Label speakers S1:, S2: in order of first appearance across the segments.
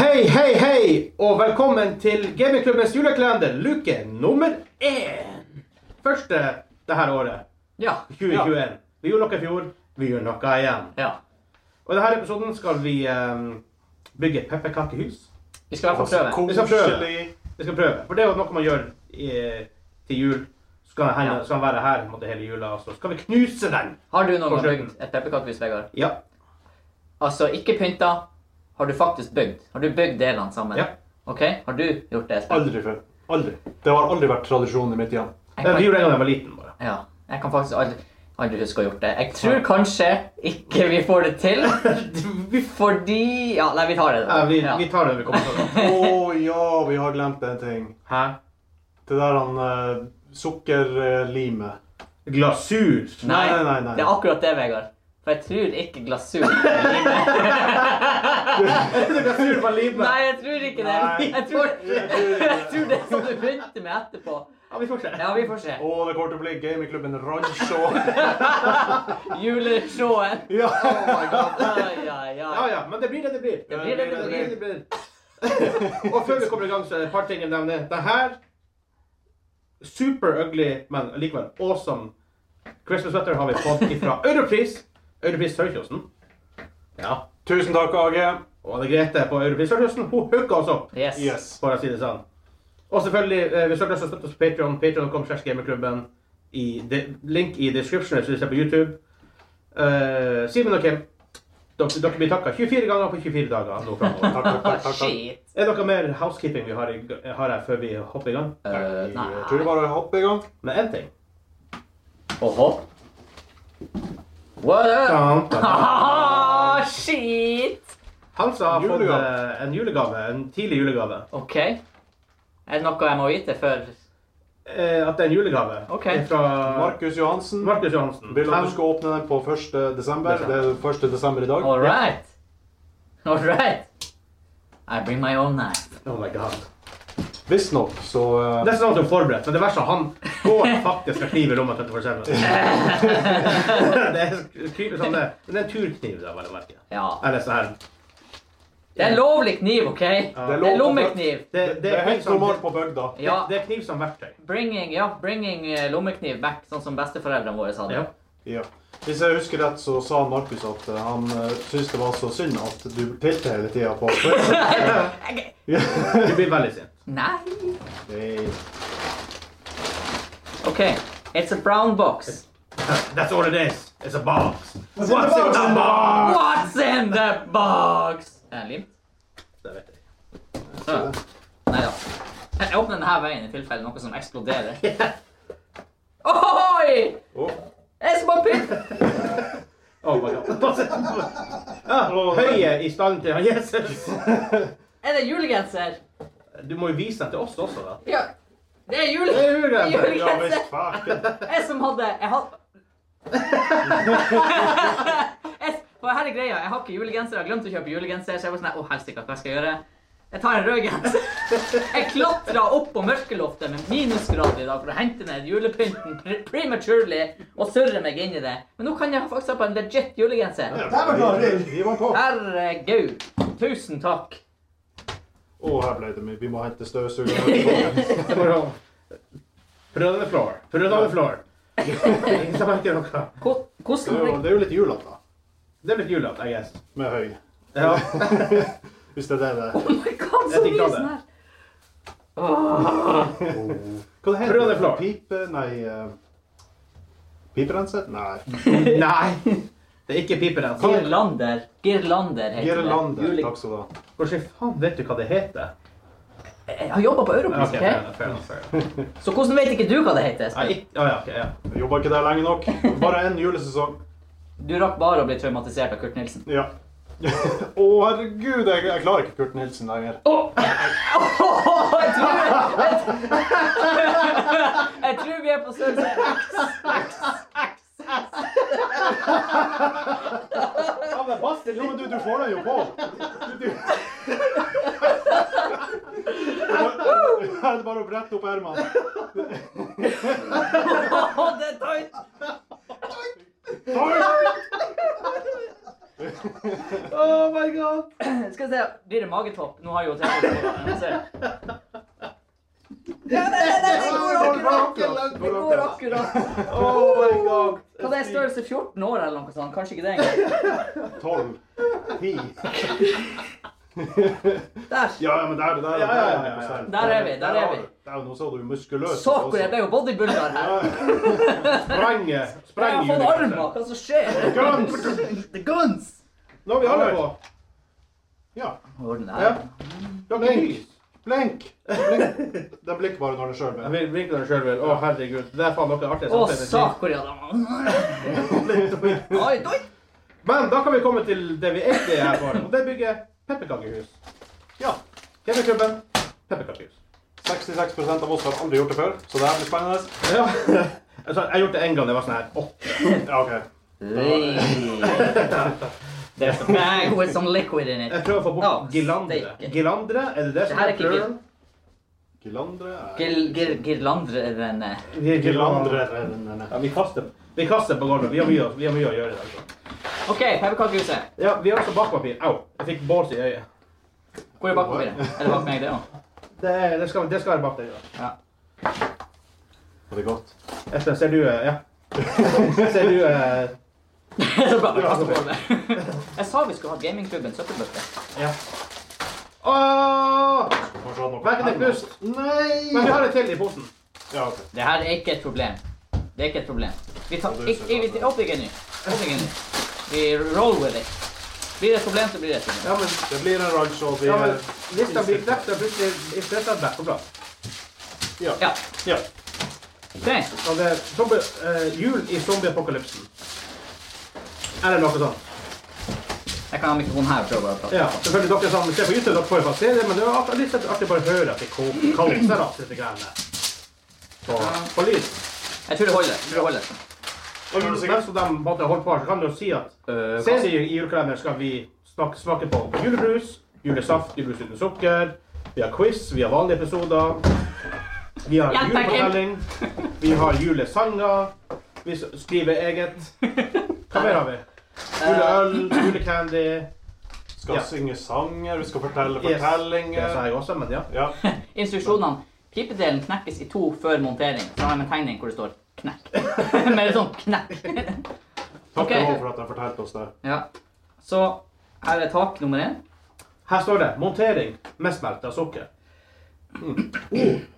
S1: Hei, hei, hei, og velkommen til gamingklubbens julekalender, luke nummer én. Første det her året,
S2: Ja.
S1: 2021. Vi gjorde noe i fjor, vi gjør noe igjen.
S2: Ja.
S1: Og i denne episoden skal vi eh, bygge et pepperkakehus.
S2: Vi skal i hvert fall prøve.
S1: Vi skal prøve. Vi skal prøve. For det er jo noe man gjør i, til jul. Så skal den, henge-
S2: Ja.
S1: skal den være her måtte, hele jula, og så skal vi knuse den.
S2: Har du noen gang
S1: Forsøk.
S2: bygd et pepperkakehus, Vegard?
S1: Ja.
S2: Altså, ikke pynta. Har du faktisk bygd? Har du bygd delene sammen?
S1: Ja.
S2: Ok, Har du gjort det? Espen?
S3: Aldri før. Aldri. Det har aldri vært tradisjon i mitt hjem.
S1: Det
S2: Jeg kan,
S1: vi gjorde en gang da jeg var liten, bare.
S2: ja. Jeg kan faktisk aldri, aldri huske å ha gjort det. Jeg tror kanskje ikke vi får det til.
S1: Vi,
S2: Fordi Ja, nei, vi tar det. da.
S1: ja, vi,
S2: Ja.
S1: vi tar det når vi kommer til det.
S3: Å ja, vi har glemt en ting.
S1: Hæ?
S3: Det der han eh, sukkerlimet.
S1: Glasur.
S2: Nei,
S3: Nei, nei, nei.
S2: det er akkurat det, Vegard. For jeg tror ikke glasur
S1: Glasur var livet.
S2: Nei, jeg tror ikke det.
S3: Nei.
S2: Jeg tror, jeg tror det er som du begynte med etterpå.
S1: Ja, vi får se.
S2: Ja, vi får se.
S3: Å, det kommer til å bli gamingklubben Rancho.
S2: Juleshowen. Oh
S3: ja.
S2: Ai, ai, ai.
S1: Ja, ja, men det blir det det blir.
S2: Det blir det det blir.
S1: det blir. og før vi kommer i gang, så er det et par ting jeg nevner. Det her Super ugly, men likevel awesome Christmas sweater har vi fått ifra Europris. Europris Sørkjosen. Ja.
S3: Tusen takk, AG.
S1: Og Anne Grete på Europris Sørkjosen, hun hooka oss opp,
S2: Yes.
S3: Yes.
S1: for å si det sånn. Og selvfølgelig, eh, hvis dere har lyst til å støtte oss på Patreon, patreon.com slash gamerklubben. I de, link i description hvis du ser på YouTube. Eh, Simen og Kim, dere, dere blir takka 24 ganger på 24 dager nå framover.
S3: Takk, takk, takk. takk, takk.
S2: Ah, Shit.
S1: Er det noe mer housekeeping vi har, i, har her før vi hopper i gang?
S2: Eh,
S3: Jeg tror
S2: nei.
S3: vi bare hopper i gang.
S1: Men én ting.
S2: Oho. What up?
S1: Dun, dun, dun.
S2: Ah, shit.
S1: Hansa har fått
S3: Julegave.
S1: eh, en julegave. En tidlig julegave.
S2: Ok. Er det noe jeg må vite før?
S1: Eh, at det er en julegave
S2: Ok.
S1: Det er fra
S3: Markus Johansen.
S1: Markus Johansen.
S3: Vil at
S1: Fem-
S3: du skal åpne den på 1. desember. Det er 1. desember i dag.
S2: All right. All right. I bring my own knife.
S1: Oh my god.
S3: Visstnok, så eh,
S1: Det er sånn at du er forberedt, men det verste er at han går faktisk med kniv i lomma 24 7 det er kniv, sånn det. Men det er en turkniv, da, vel å merke.
S2: Ja.
S1: Eller sånn her.
S2: Det er en lovlig kniv, ok?
S1: Det er
S2: Det er
S3: lov-
S2: lommekniv.
S1: Det,
S3: Det, det er helt sånn-
S1: som-
S3: normalt på bygda.
S2: Ja.
S1: Det, det er kniv som verktøy.
S2: Bringing, ja, bringing eh, lommekniv back, sånn som besteforeldrene våre sa det.
S1: Ja.
S3: Ja. Hvis jeg husker rett, så sa Markus at eh, han uh, syntes det var så synd at du tilte hele tida på
S2: Jeg-
S1: Du blir veldig sint.
S2: Nei.
S3: Nei.
S2: Ok. It's a brown box.
S1: That's all it is. It's a box. What's
S3: in the box?
S1: in the box?
S2: What's in the box? Er den limt?
S1: Det vet jeg. ikke.
S2: Sånn. Nei da. Jeg åpner denne veien i tilfelle noe som eksploderer. Ohoi!
S3: Å,
S2: Jeg skal bare pynte!
S1: Oh my god. ja, høye i stand til Jesus.
S2: Er det julegenser?
S1: Du må jo vise den til oss også, da.
S2: Ja. Det er jule...
S1: Det er julegenser.
S3: Ja visst,
S2: julegenser.
S3: fæken.
S2: Jeg som hadde Jeg hadde jeg, for her er greia, jeg har ikke julegenser. Jeg har glemt å kjøpe julegenser. Så jeg var sånn Å, helsike, hva skal jeg gjøre? Jeg tar en rød genser. Jeg klatra opp på mørkeloftet med minusgrader i dag for å hente ned julepynten pre- prematurely og surre meg inn i det. Men nå kan jeg faktisk ha på en legit julegenser.
S3: Der var klaren! Vi var på.
S2: Herregud. Tusen takk.
S3: Å, her ble det mye. Vi må hente støvsugeren.
S1: For å- Prøv the floor. Prøv the floor. Ingen som merker noe.
S2: Hvor-
S3: Det er jo-
S2: Hvordan
S3: det er jo litt julete
S1: Det blir julete, I guess.
S3: med høy.
S1: Ja.
S3: Hvis det er det det
S2: Oh my god, så
S1: Jeg digger
S2: mye
S1: det.
S2: sånn her. Åh.
S3: Hva det
S1: Prøv
S3: heter
S1: det, Flor.
S3: Pipe... Nei eh, Piperenser? Nei.
S1: Nei. Det er ikke piperens.
S2: Girlander. Girlander heter det.
S3: Girlander.
S2: Jule-
S3: Takk skal du ha.
S1: Hvordan faen vet du hva det heter?
S2: Jeg har jobba på Europris,
S1: Ok,
S2: ok?
S1: fair enough, fair enough, fair enough.
S2: Så hvordan vet ikke du hva det heter?
S1: Nei,
S2: Espen?
S1: ikke- ja, ja, ok, ja.
S3: Jeg Jobba ikke der lenge nok. Bare én julesesong.
S2: Du rakk bare å bli traumatisert av Kurt Nilsen.
S3: Ja. Å, herregud, jeg, jeg klarer ikke Kurt Nilsen lenger.
S2: Jeg tror, jeg tror vi er på Sørlandet.
S1: Ja, men Basti,
S3: Jo, men du, du får den jo på. Du, du. Det er bare å brette opp ermene.
S2: Å, det er tight!
S3: Oi!
S1: Oh my god!
S2: Skal vi se, blir det magetopp? Nå har jo T-skjorte på. da, men vi ser. Ja, det, det, det går akkurat! Det går akkurat.
S1: Oh my god.
S2: Hva det er størrelse 14 år eller noe sånt? Kanskje ikke det engang.
S3: 12. 10.
S2: Der!
S3: Ja, ja, men der, der, der,
S1: Ja, ja, ja,
S3: er vi på
S1: ja.
S3: stedet.
S2: Der er vi, der er vi.
S3: Der, nå så du jo muskuløs.
S2: Så hvor jeg ble jo bodybuilder her.
S3: Ja,
S1: Sprenge.
S2: Jeg
S1: Spreng
S2: har fått armer. Hva som skjer?
S1: Guns!
S2: The guns!
S1: Nå har vi alle på.
S3: ja.
S2: Ordne
S1: Ja.
S2: her.
S1: Dere
S3: Blink.
S1: nys.
S3: Blink! Blink. Den blinker bare når den sjøl
S1: Jeg
S3: med.
S1: vil vinke den sjøl vel. Å, herregud. Det er faen noe artig.
S2: Å, Sakura, da. Oi, oi.
S1: Men da kan vi komme til det vi egentlig er her for, og det bygger pepperkakehus.
S3: Ja.
S1: Gamerklubben, pepperkakehus.
S3: 66 av oss har aldri gjort det før, så det her blir spennende.
S1: Ja. Altså, jeg har gjort det en gang, det var sånn her åtte.
S3: Ja, ok.
S2: There's a bag with some sånn liquid in it.
S1: Jeg prøver å få bort
S2: Ja,
S1: gilandre.
S2: steike.
S1: Gilandre, er det det som
S2: Det her
S1: er
S2: er ikke
S1: plural?
S3: Gilandre er-
S2: Gir- gir- eh. Girlandrene
S3: Gilandre er- nei, nei.
S1: Ja, vi kaster, vi kaster på gulvet. Vi har mye, å- vi har mye å gjøre i dag. så.
S2: OK, pepperkakehuset.
S1: Ja, vi har også bakpapir. Au, jeg fikk bås i øyet.
S2: Hvor er bakpapiret? Er det bak meg, det òg?
S1: Det, er- det, skal, det skal være bak deg. da.
S2: Ja.
S3: Og det er godt.
S1: Espen, ser du eh, Ja. Ser du eh,
S2: Så bra, bare kaste på det. Jeg sa vi skulle ha gamingklubben søppelbøtte.
S1: Ja. Åh!
S3: Kanskje han har noe
S1: Verken er
S3: her nå.
S1: knust. Men vi
S3: Nei!
S1: har det til i posen.
S3: Ja, ok.
S2: Det her er ikke et problem. Det er ikke et problem. Vi tar
S3: Og du
S2: ikke,
S3: ser
S2: vi,
S3: det.
S2: opp ikke nå. Opp ikke nå. Vi roll with it. Blir det et problem, så blir det et problem.
S1: Ja, men,
S3: Det blir en ranch, og vi
S1: ja, men lista blir knekt, og plutselig er stressa back på plass.
S3: Ja.
S2: Ja.
S3: ja.
S2: OK.
S1: Og det er zombie, eh, jul i zombieapokalypsen. Eller noe sånt.
S2: Jeg kan ha mikrofonen her og prøve å prate.
S1: Ja, selvfølgelig dere som ser på YouTube, dere får jo faktisk se det, men det var litt artig bare å høre at det ko- kaoser av disse greiene. På, på lyd.
S2: Jeg tror det holder. Jeg tror det holder.
S1: Og mens de måtte holdt på, så kan du jo si at
S2: Øh,
S1: senere i julekalenderen skal vi smake, smake på julebrus, julesaft, julebrus uten sukker, vi har quiz, vi har vanlige episoder, vi har
S2: Hjelp meg, Kim.
S1: julefortelling, vi har julesanger, vi s- skriver eget. Hva mer har vi? Juleøl, julecandy.
S3: eh, Skal
S1: Ja.
S3: synge sanger, vi skal fortelle
S1: Yes. Det
S3: fortellinger.
S1: sa jeg også, men ja.
S3: Ja.
S2: Instruksjonene. Pipedelen knekkes i to før montering. Så har jeg en tegning hvor det står 'knekk'. Med en sånn knekk.
S3: Takk
S2: Ok.
S3: til Håvard for at jeg fortalte oss det.
S2: Ja. Så her er tak nummer én.
S1: Her står det 'montering med smelta sukker'.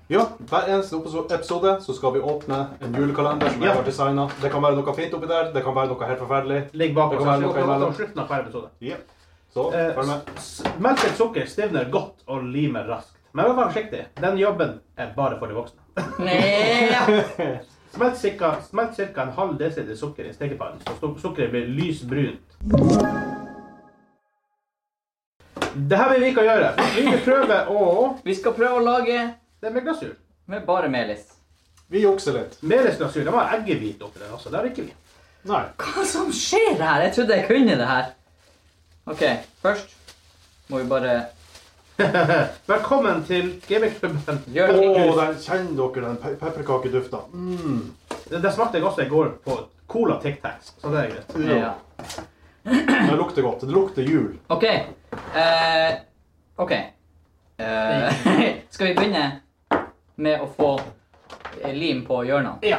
S3: Ja, hver eneste episo- episode så skal vi åpne en julekalender som
S1: Ja.
S3: jeg har designa. Det kan være noe fint oppi der, det kan være noe helt forferdelig.
S1: Ligg bak
S3: Det
S1: oss.
S3: kan være
S1: Jeg
S3: noe
S1: skal
S3: imellom.
S1: på slutten av hver episode.
S3: Ja. Så
S1: Eh,
S3: følg med.
S1: s- Smeltet sukker stivner godt og limer raskt. Men vær forsiktig, den jobben er bare for de voksne.
S2: Nei, ja.
S1: Smelt cirka, smelt cirka en halv desiliter sukker i stekepannen, så suk- sukkeret blir lysbrunt. Det her vil vi ikke gjøre. Vi vil prøve å
S2: Vi skal prøve å lage
S1: Det er med glasur.
S2: med bare melis.
S3: Vi jukser litt.
S1: Melis glasur. De har eggehvit oppi den også. Det har ikke vi.
S3: Nei.
S2: Hva som skjer her? Jeg trodde jeg kunne det her. OK, først må vi bare
S1: Velkommen til gamingklubben.
S2: gjøre
S3: Å,
S2: ting.
S3: der kjenner dere den pe pepperkakedufta. Mm.
S1: Det, det smakte jeg også i går på Cola Tic Tacs, så det er greit.
S2: Ja.
S3: Det lukter godt. Det lukter jul.
S2: OK. Eh, OK. Eh, skal vi begynne med å få eh, lim på hjørnene?
S1: Ja.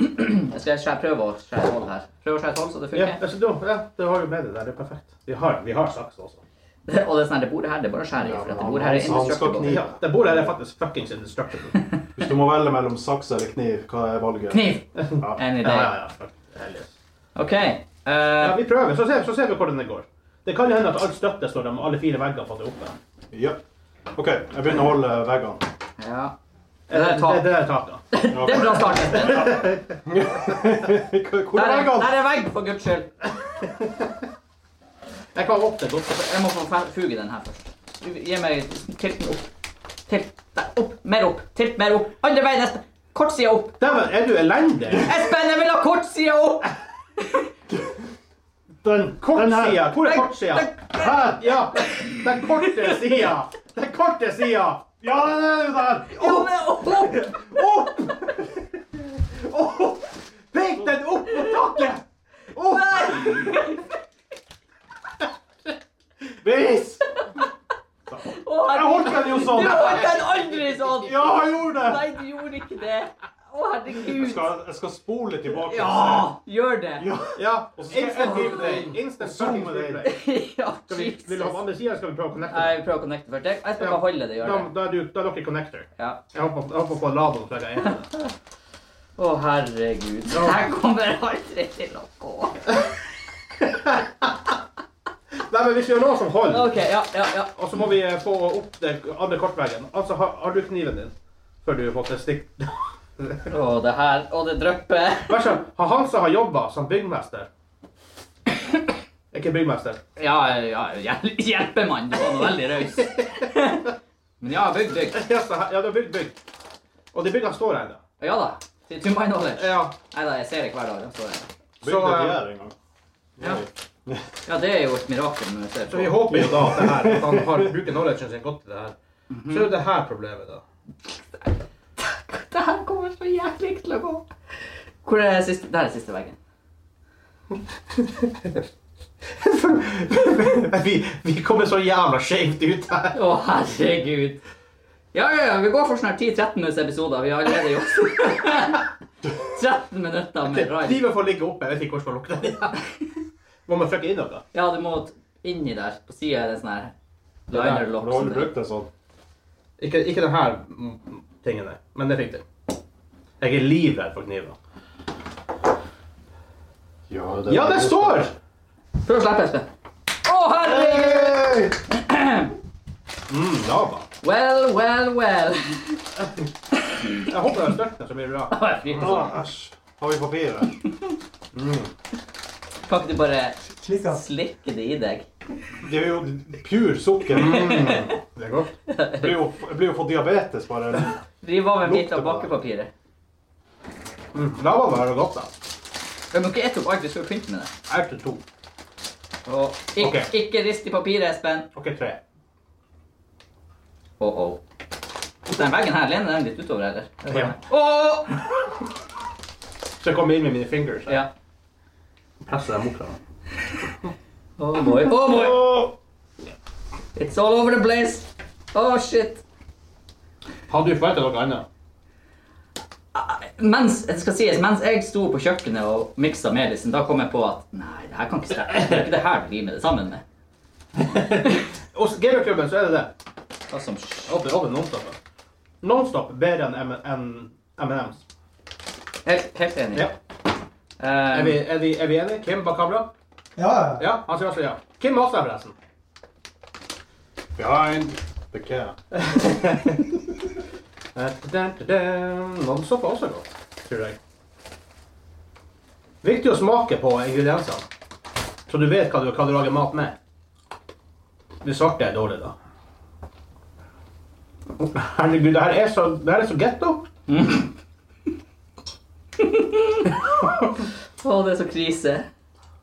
S2: Jeg Skal jeg, skal jeg prøve å skjære et hull her? Prøve å skjære et hull så det
S1: Ja,
S2: funker?
S1: altså, da, ja, det har jo med det der. Det er perfekt. Vi har, vi har saks også.
S2: Og det er sånn her, det bordet her, det er bare å skjære i, for at det
S3: Ja,
S2: bordet her er
S3: altså, han skal
S2: indestructible.
S3: knive.
S1: Ja, det bordet her er faktisk fuckings indestructible.
S3: Hvis du må velge mellom saks eller kniv, hva er valget?
S2: Kniv!
S3: Ja.
S2: Any
S1: Ja, ja,
S2: day.
S1: ja. fuck, helligvis.
S2: OK. eh,
S1: Ja, vi prøver, så ser, så ser vi hvordan det går. Det kan jo hende at alt støtte står dem, alle fire veggene fatter oppe.
S3: Ja. OK, jeg begynner å holde veggene.
S2: ja.
S1: Det,
S2: Det der
S1: det,
S2: tar-
S1: det der er taket.
S2: Det er en bra start. Espen.
S3: Hvor
S2: Der
S3: er
S2: er,
S3: veggene?
S2: der er vegg, for guds skyld.
S1: Jeg kan åpne godt.
S2: Jeg må få fe- fuge den her først. Gi meg Tilt den opp. Tilt der. Opp. Mer opp. Tilt mer opp. Andre veien, Espen. Kortsida opp.
S1: Dæven, er du elendig?
S2: Espen, jeg vil ha kortsida opp!
S3: Den, den
S1: Kortsida,
S3: her.
S1: hvor er kortsida?
S3: Her!
S1: Ja, den korte sida. Den korte sida.
S3: Ja, den er jo der!
S2: Jo, men opp!
S1: Opp! Opp! Pek den opp mot taket! Opp!
S2: Nei!
S3: Bevis!
S2: Å,
S3: Jeg
S2: herregud.
S3: holdt den jo
S2: Du
S3: sånn!
S2: holdt den aldri sånn!
S3: Ja, jeg gjorde det!
S2: Nei, du gjorde ikke det. Å,
S3: Jeg
S2: herregud.
S3: skal, jeg skal spole tilbake.
S2: Ja, gjør det.
S3: ja.
S1: Ja.
S3: Og så skal jeg
S1: Instant replay.
S3: Og
S1: Instant
S3: zoome
S1: fucking
S3: deg.
S1: replay.
S2: Ja,
S1: Skal vi, vil du ha på
S2: Jesus.
S1: andre sida, skal vi prøve å connecte?
S2: Jeg prøver å connecte først. Jeg jeg skal bare holde det, gjør
S1: Da,
S2: det.
S1: da, er du, da er dere connector.
S2: Ja.
S1: Jeg håper, jeg håper på ladoen. så jeg kan gjøre det.
S2: Å, herregud. Det her kommer aldri til å gå.
S1: Nei, men hvis vi gjør noe som holder,
S2: OK, ja, ja, ja.
S1: og så må vi eh, få opp den andre kortveggen Altså, har, har du kniven din før du har fått et stikk?
S2: Å, det her Å, det drypper.
S1: Vær så snill, har Hansa har jobba som byggmester? Ikke byggmester.
S2: Ja, ja, hjel- hjelpemann. Du var nå veldig raus. Men ja, bygg, bygg.
S1: Ja, så her- ja, du har bygd bygg. Og de byggene står ennå.
S2: Ja da. To to my knowledge.
S1: Ja.
S2: Nei da, jeg ser det hver dag. de står her.
S3: Bygde
S1: Så, eh,
S3: de her en gang.
S2: ja. Ja, det er jo et mirakel når jeg ser
S1: Så vi
S2: på.
S1: håper jo da at, det her, at han har bruker knowledgen sin godt til det her. Så er det det her problemet, da.
S2: Det her kommer så jævlig til å gå. Hvor er siste Der er siste veggen.
S1: vi, vi kommer så jævla skjevt ut her.
S2: Å, herregud. Ja, ja, ja, vi går for sånn her 10-13 minutters episoder. Vi har allerede gjort 13 minutter med ride.
S1: Livet får ligge oppe. Jeg vet ikke hvordan man lukker den igjen. Må man trykke inn noe?
S2: Ja, du må inni der. På sida er det sånn her
S1: der,
S2: liner
S3: For
S2: lock.
S3: du har
S2: sånn
S3: aldri
S2: der.
S3: brukt det sånn.
S1: Ikke, ikke den her mm, tingen, nei. Men det fikk det. Jeg er livredd for kniver.
S3: Ja,
S1: Ja, det står!
S2: Prøv å slippe, Espen. Å, herregud!
S3: Hey!
S1: Mm, lava.
S2: Well, well, well.
S1: Jeg håper det størkner så mye bra.
S2: Å, jeg liksom. fryser.
S3: Ah, Æsj. Har vi papiret?
S2: Kan ikke du bare slikke det i deg?
S3: Det er jo pur sukker.
S1: Mm. Det er godt.
S3: Jeg blir jo, jeg blir jo for diabetes bare.
S2: Riv av en bit av
S3: Lukter på det.
S2: bakkepapiret.
S1: Mm, lava var det godt, da.
S2: Vi må ikke ete opp alt, vi skal jo pynte med det.
S1: Jeg er til to.
S2: Og ikke,
S1: Ok.
S2: ikke rist i papiret, Espen.
S1: Ok, tre.
S2: Åh, åh. Den veggen her lener den litt utover, eller?
S1: Ja.
S2: Åh!
S1: Så jeg kommer inn med mine fingers.
S2: Ja.
S1: Presser dem mot hverandre.
S2: Oh boy. Oh boy.
S1: Åh!
S2: It's all over the place. Oh shit.
S1: Hadde du forventet noe annet?
S2: Mens, det skal sies, mens jeg sto på kjøkkenet og miksa melisen, da kom jeg på at nei, det her kan ikke stemme. Det er ikke det her du limer det sammen med.
S1: Hos gamerklubben så er det det.
S2: Hva som skjer?
S1: Oppe, oppe nonstop. da. Nonstop bedre enn M- enn M&M's.
S2: Helt, helt enig.
S1: Ja.
S2: Eh,
S1: Er, vi, er, vi, er vi enige? Kim Bakabla?
S4: Ja, ja.
S1: Ja, han sier også ja. Kim også er forresten.
S3: Behind the cat.
S1: Eh, da-da, da-da. Nonstop er også godt, tror jeg. Viktig å smake på ingrediensene, så du vet hva du, hva du lager mat med. Det svarte er dårlig, da. Herregud, det her er så, det her er så getto.
S2: Å, det er så krise.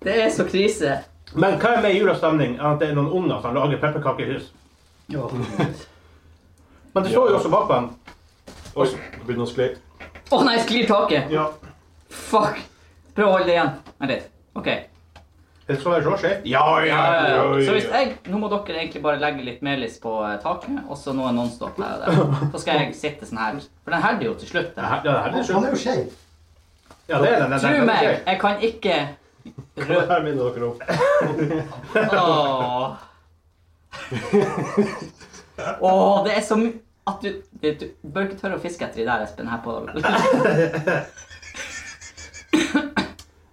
S2: Det er så krise.
S1: Men hva er med i julas stemning enn at det er noen unger som lager pepperkaker i hus?
S2: Åh,
S1: Men det står jo også bakpå dem.
S3: Oi, det begynner å skli.
S2: Åh, nei, sklir taket.
S3: Ja.
S2: Fuck. Prøv å holde det igjen. Vent litt. OK.
S1: Det skal være så skjevt. Ja,
S2: Ja, ja, ja. Så hvis jeg, Nå må dere egentlig bare legge litt melis på eh, taket, og så noe Nonstop her og der. Så skal jeg sitte sånn her. For den herder jo til slutt.
S1: Det
S2: Den
S1: her,
S2: her.
S1: ja, det her blir
S4: Han
S1: skjønt.
S4: er jo skeiv.
S1: Ja, det er den. den,
S2: Tro
S1: den, den
S2: meg,
S1: skjønt.
S2: jeg kan ikke
S3: Det her minner dere om.
S2: Åh. Åh, det er så mye at du, du, du bør ikke tørre å fiske etter de der, Espen. her på...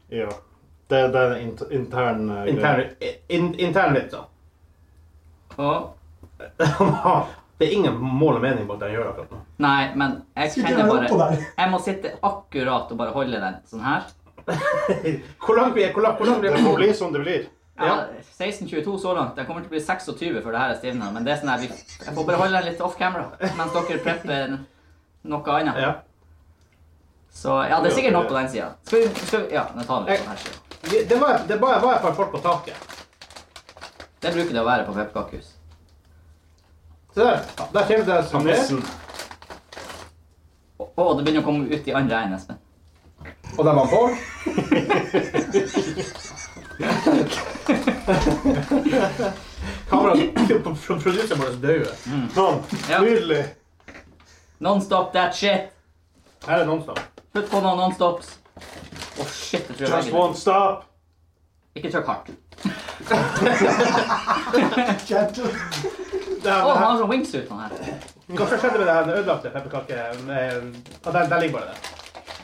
S3: Ja. Det, det er en int- intern eh,
S1: Intern,
S3: greie.
S1: in, intern litt, da.
S2: Åh.
S1: det er ingen mål og mening på at den gjør akkurat nå.
S2: Nei, men jeg
S4: Sitter
S2: kjenner
S4: den oppå
S2: bare
S4: der?
S2: Jeg må sitte akkurat og bare holde den sånn her.
S1: Hvor langt vi er, hvor langt, hvor langt vi
S3: Det får
S1: er
S3: bli som det blir.
S2: Ja,
S1: Ja.
S2: 16-22 så langt. Jeg kommer til å bli 26 før det her er stivna. Men det er sånn her, vi- jeg får bare holde den litt off camera mens dere prepper noe annet.
S1: ja.
S2: Så ja, det er sikkert nok på den sida. Skal vi, skal vi Ja, nå tar vi litt på den her siden.
S1: Vi- Det var, det var, var et par folk på taket.
S2: Det bruker det å være på pepperkakehus.
S1: Se der. Der kommer det som er,
S3: Nesten.
S2: Å, det begynner å komme ut i andre øynene, Espen.
S1: og der var han på. Kameraet fra produseren vår dauer.
S3: Sånn.
S2: Ja.
S3: Nydelig.
S2: Nonstop that shit.
S1: Her er nonstop.
S2: Putt på noen nonstops. Å, shit, jeg tror jeg
S3: Just
S2: legger det.
S3: won't stop.
S2: Ikke trykk hardt.
S3: Gentle.
S1: Det her-
S2: Å,
S1: det
S2: han har
S1: her-
S2: sånn wingsuit, han her.
S1: Hva som skjedde med det her den ødelagte pepperkake? med- Ja, den, den ligger bare der.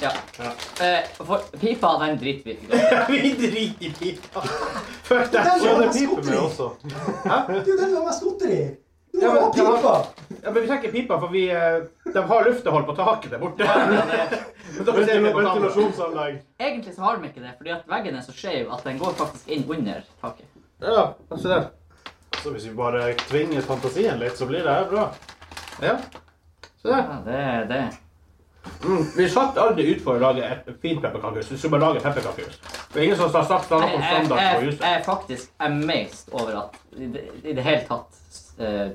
S2: Ja.
S3: Ja.
S2: Eh, for pipa, den driter vi ikke i.
S1: Vi driter i pipa. Fuck that.
S4: Den
S3: Så
S1: shit.
S3: er det piper med også.
S4: Det er jo den vi har mest godteri i. Du
S1: Ja,
S4: har
S1: men-
S4: jo pipa.
S1: Ja, men vi trenger ikke pipa, for vi, eh, de har luftehold på taket der borte. Men da ser vi på kamera.
S3: Ventilasjonsanlegg.
S2: Egentlig så har de ikke det, fordi at veggen er så skjev at den går faktisk inn under taket.
S1: Ja, se der.
S3: Så hvis vi bare tvinger fantasien litt, så blir det her bra.
S1: Ja. Se der.
S2: Ja, det er det.
S1: Mm. Vi satt aldri ut for å lage et fint pepperkakehus. Vi skulle bare lage et pepperkakehus. Det er ingen som har snakket
S2: Jeg,
S1: om
S2: jeg,
S1: standard på
S2: jeg,
S1: huset.
S2: jeg er faktisk amazed over at i det, i det hele tatt eh,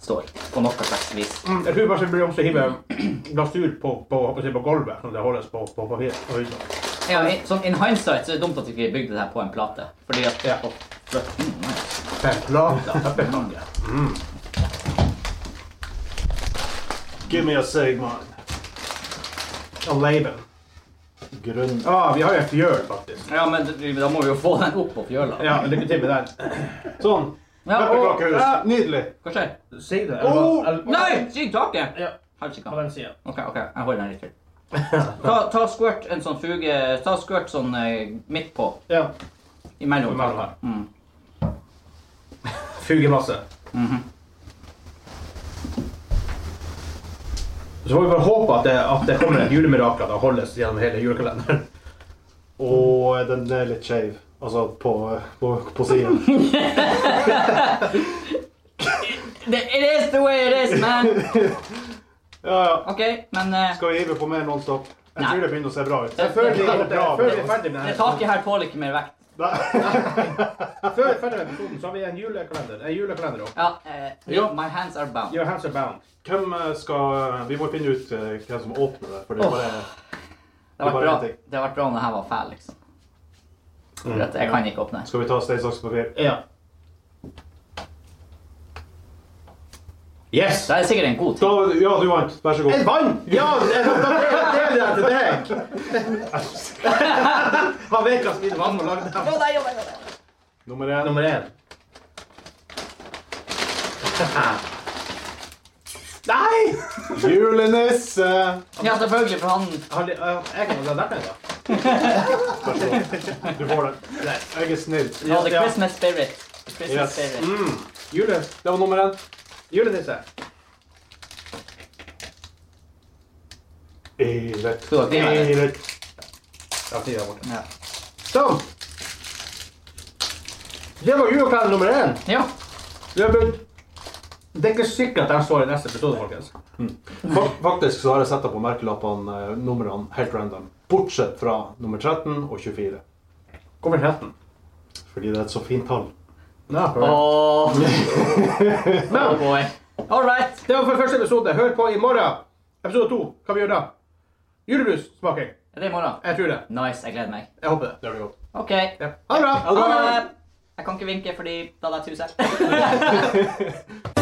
S2: står på noe slags vis.
S1: Mm, Jeg tror kanskje vi burde også hive glasur på, på, på, på gulvet, som det holdes på på, på, hy- på huset.
S2: Ja, i, sånn, in hindsight så er det dumt at vi ikke bygde det her på en plate. Fordi at
S1: Ja.
S2: Mm, nice.
S1: Pepperlata, pepperkake.
S3: Give me a segment.
S1: Og leiben.
S3: Grunn.
S1: Ah, vi har jo en fjøl, faktisk.
S2: Ja, men d- da må vi jo få den opp på fjøla.
S1: Ja, lykke til med den.
S3: Sånn.
S2: Ja, og,
S3: Pepperkakehus.
S1: Ja.
S3: Nydelig.
S2: hva skjer?
S1: Si det.
S3: Oh!
S2: Nei! Skygg taket!
S1: Ja, på
S2: Helsike.
S1: den siden.
S2: OK, ok, jeg holder den litt til. Ta, ta squirt en sånn fuge Ta squirt sånn eh, midt på.
S1: Ja.
S2: Imellom.
S1: Imellom her.
S2: Mm.
S1: Fugemasse. Mm-hmm. Så får vi bare håpe at det, at det kommer et julemirakel og holdes gjennom hele julekalenderen.
S3: Og den er litt skeiv. Altså på, på, på siden.
S2: Det- It is the way it is, man!
S3: Ja, ja.
S2: OK, men eh,
S3: Skal vi hive på mer nonstop? Jeg
S2: Nei.
S3: tror det begynner å se bra ut.
S1: Før vi,
S3: Det går bra.
S1: før vi er ferdig med
S2: det
S1: denne-
S2: taket her tåler ikke mer vekt.
S3: Nei.
S1: før vi er ferdig med episoden, så har vi en julekalender. En julekalender også.
S2: Ja, eh,
S3: Ja.
S2: My hands are bound.
S1: Your hands are bound.
S3: Hvem eh, skal Vi må finne ut eh, hvem som åpner det. For det er bare
S2: Det har vært
S3: bare
S2: bra
S3: en ting.
S2: Det har vært bra om det her var fæl, liksom. For at jeg kan ikke åpne.
S3: Skal vi ta stein, saks, papir?
S1: Ja. Yes!
S2: Det er sikkert en god ting.
S3: Da, ja, du vant. Vær så
S1: Jeg
S3: god.
S1: vant! Ja, det er det er det til deg! Han vet hva som er vann og lagde den.
S3: Nummer én.
S1: Nummer én. Nei!
S3: Julenisse!
S2: Ja, selvfølgelig, for han
S1: Har de- øh, Jeg kan ha lært meg det.
S3: Vær så god. Du får den.
S1: Nei.
S3: Jeg er snill.
S2: Ja, the
S1: Ja.
S2: Christmas spirit. The Christmas
S3: Yes.
S2: spirit.
S1: Mm. Jule,
S3: Det var nummer én.
S1: julenisse.
S3: Eilert.
S2: Du har ikke med det.
S3: Eilert.
S1: Ja, tida er borte.
S2: Ja.
S1: Sånn. Det var julekalender nummer én.
S2: ja.
S1: Det er begynt- det er ikke sikkert at de står i neste episode, folkens.
S3: Fak- Faktisk så har jeg satt på merkelappene eh, numrene helt random. Bortsett fra nummer 13 og 24.
S1: Kommer 13.
S3: Fordi det er et så fint tall.
S1: Ja,
S2: Åh, oh
S1: Men
S2: boy. All right.
S1: det var for første episode. Hør på i morgen. Episode to. Hva vi gjør da? Julebrussmaking.
S2: Er det i morgen?
S1: Jeg tror det.
S2: Nice, jeg gleder meg.
S1: Jeg håper det.
S3: There we go.
S2: OK.
S1: Ja. Ha det bra.
S2: Ha det. Jeg kan ikke vinke fordi da hadde jeg tusen.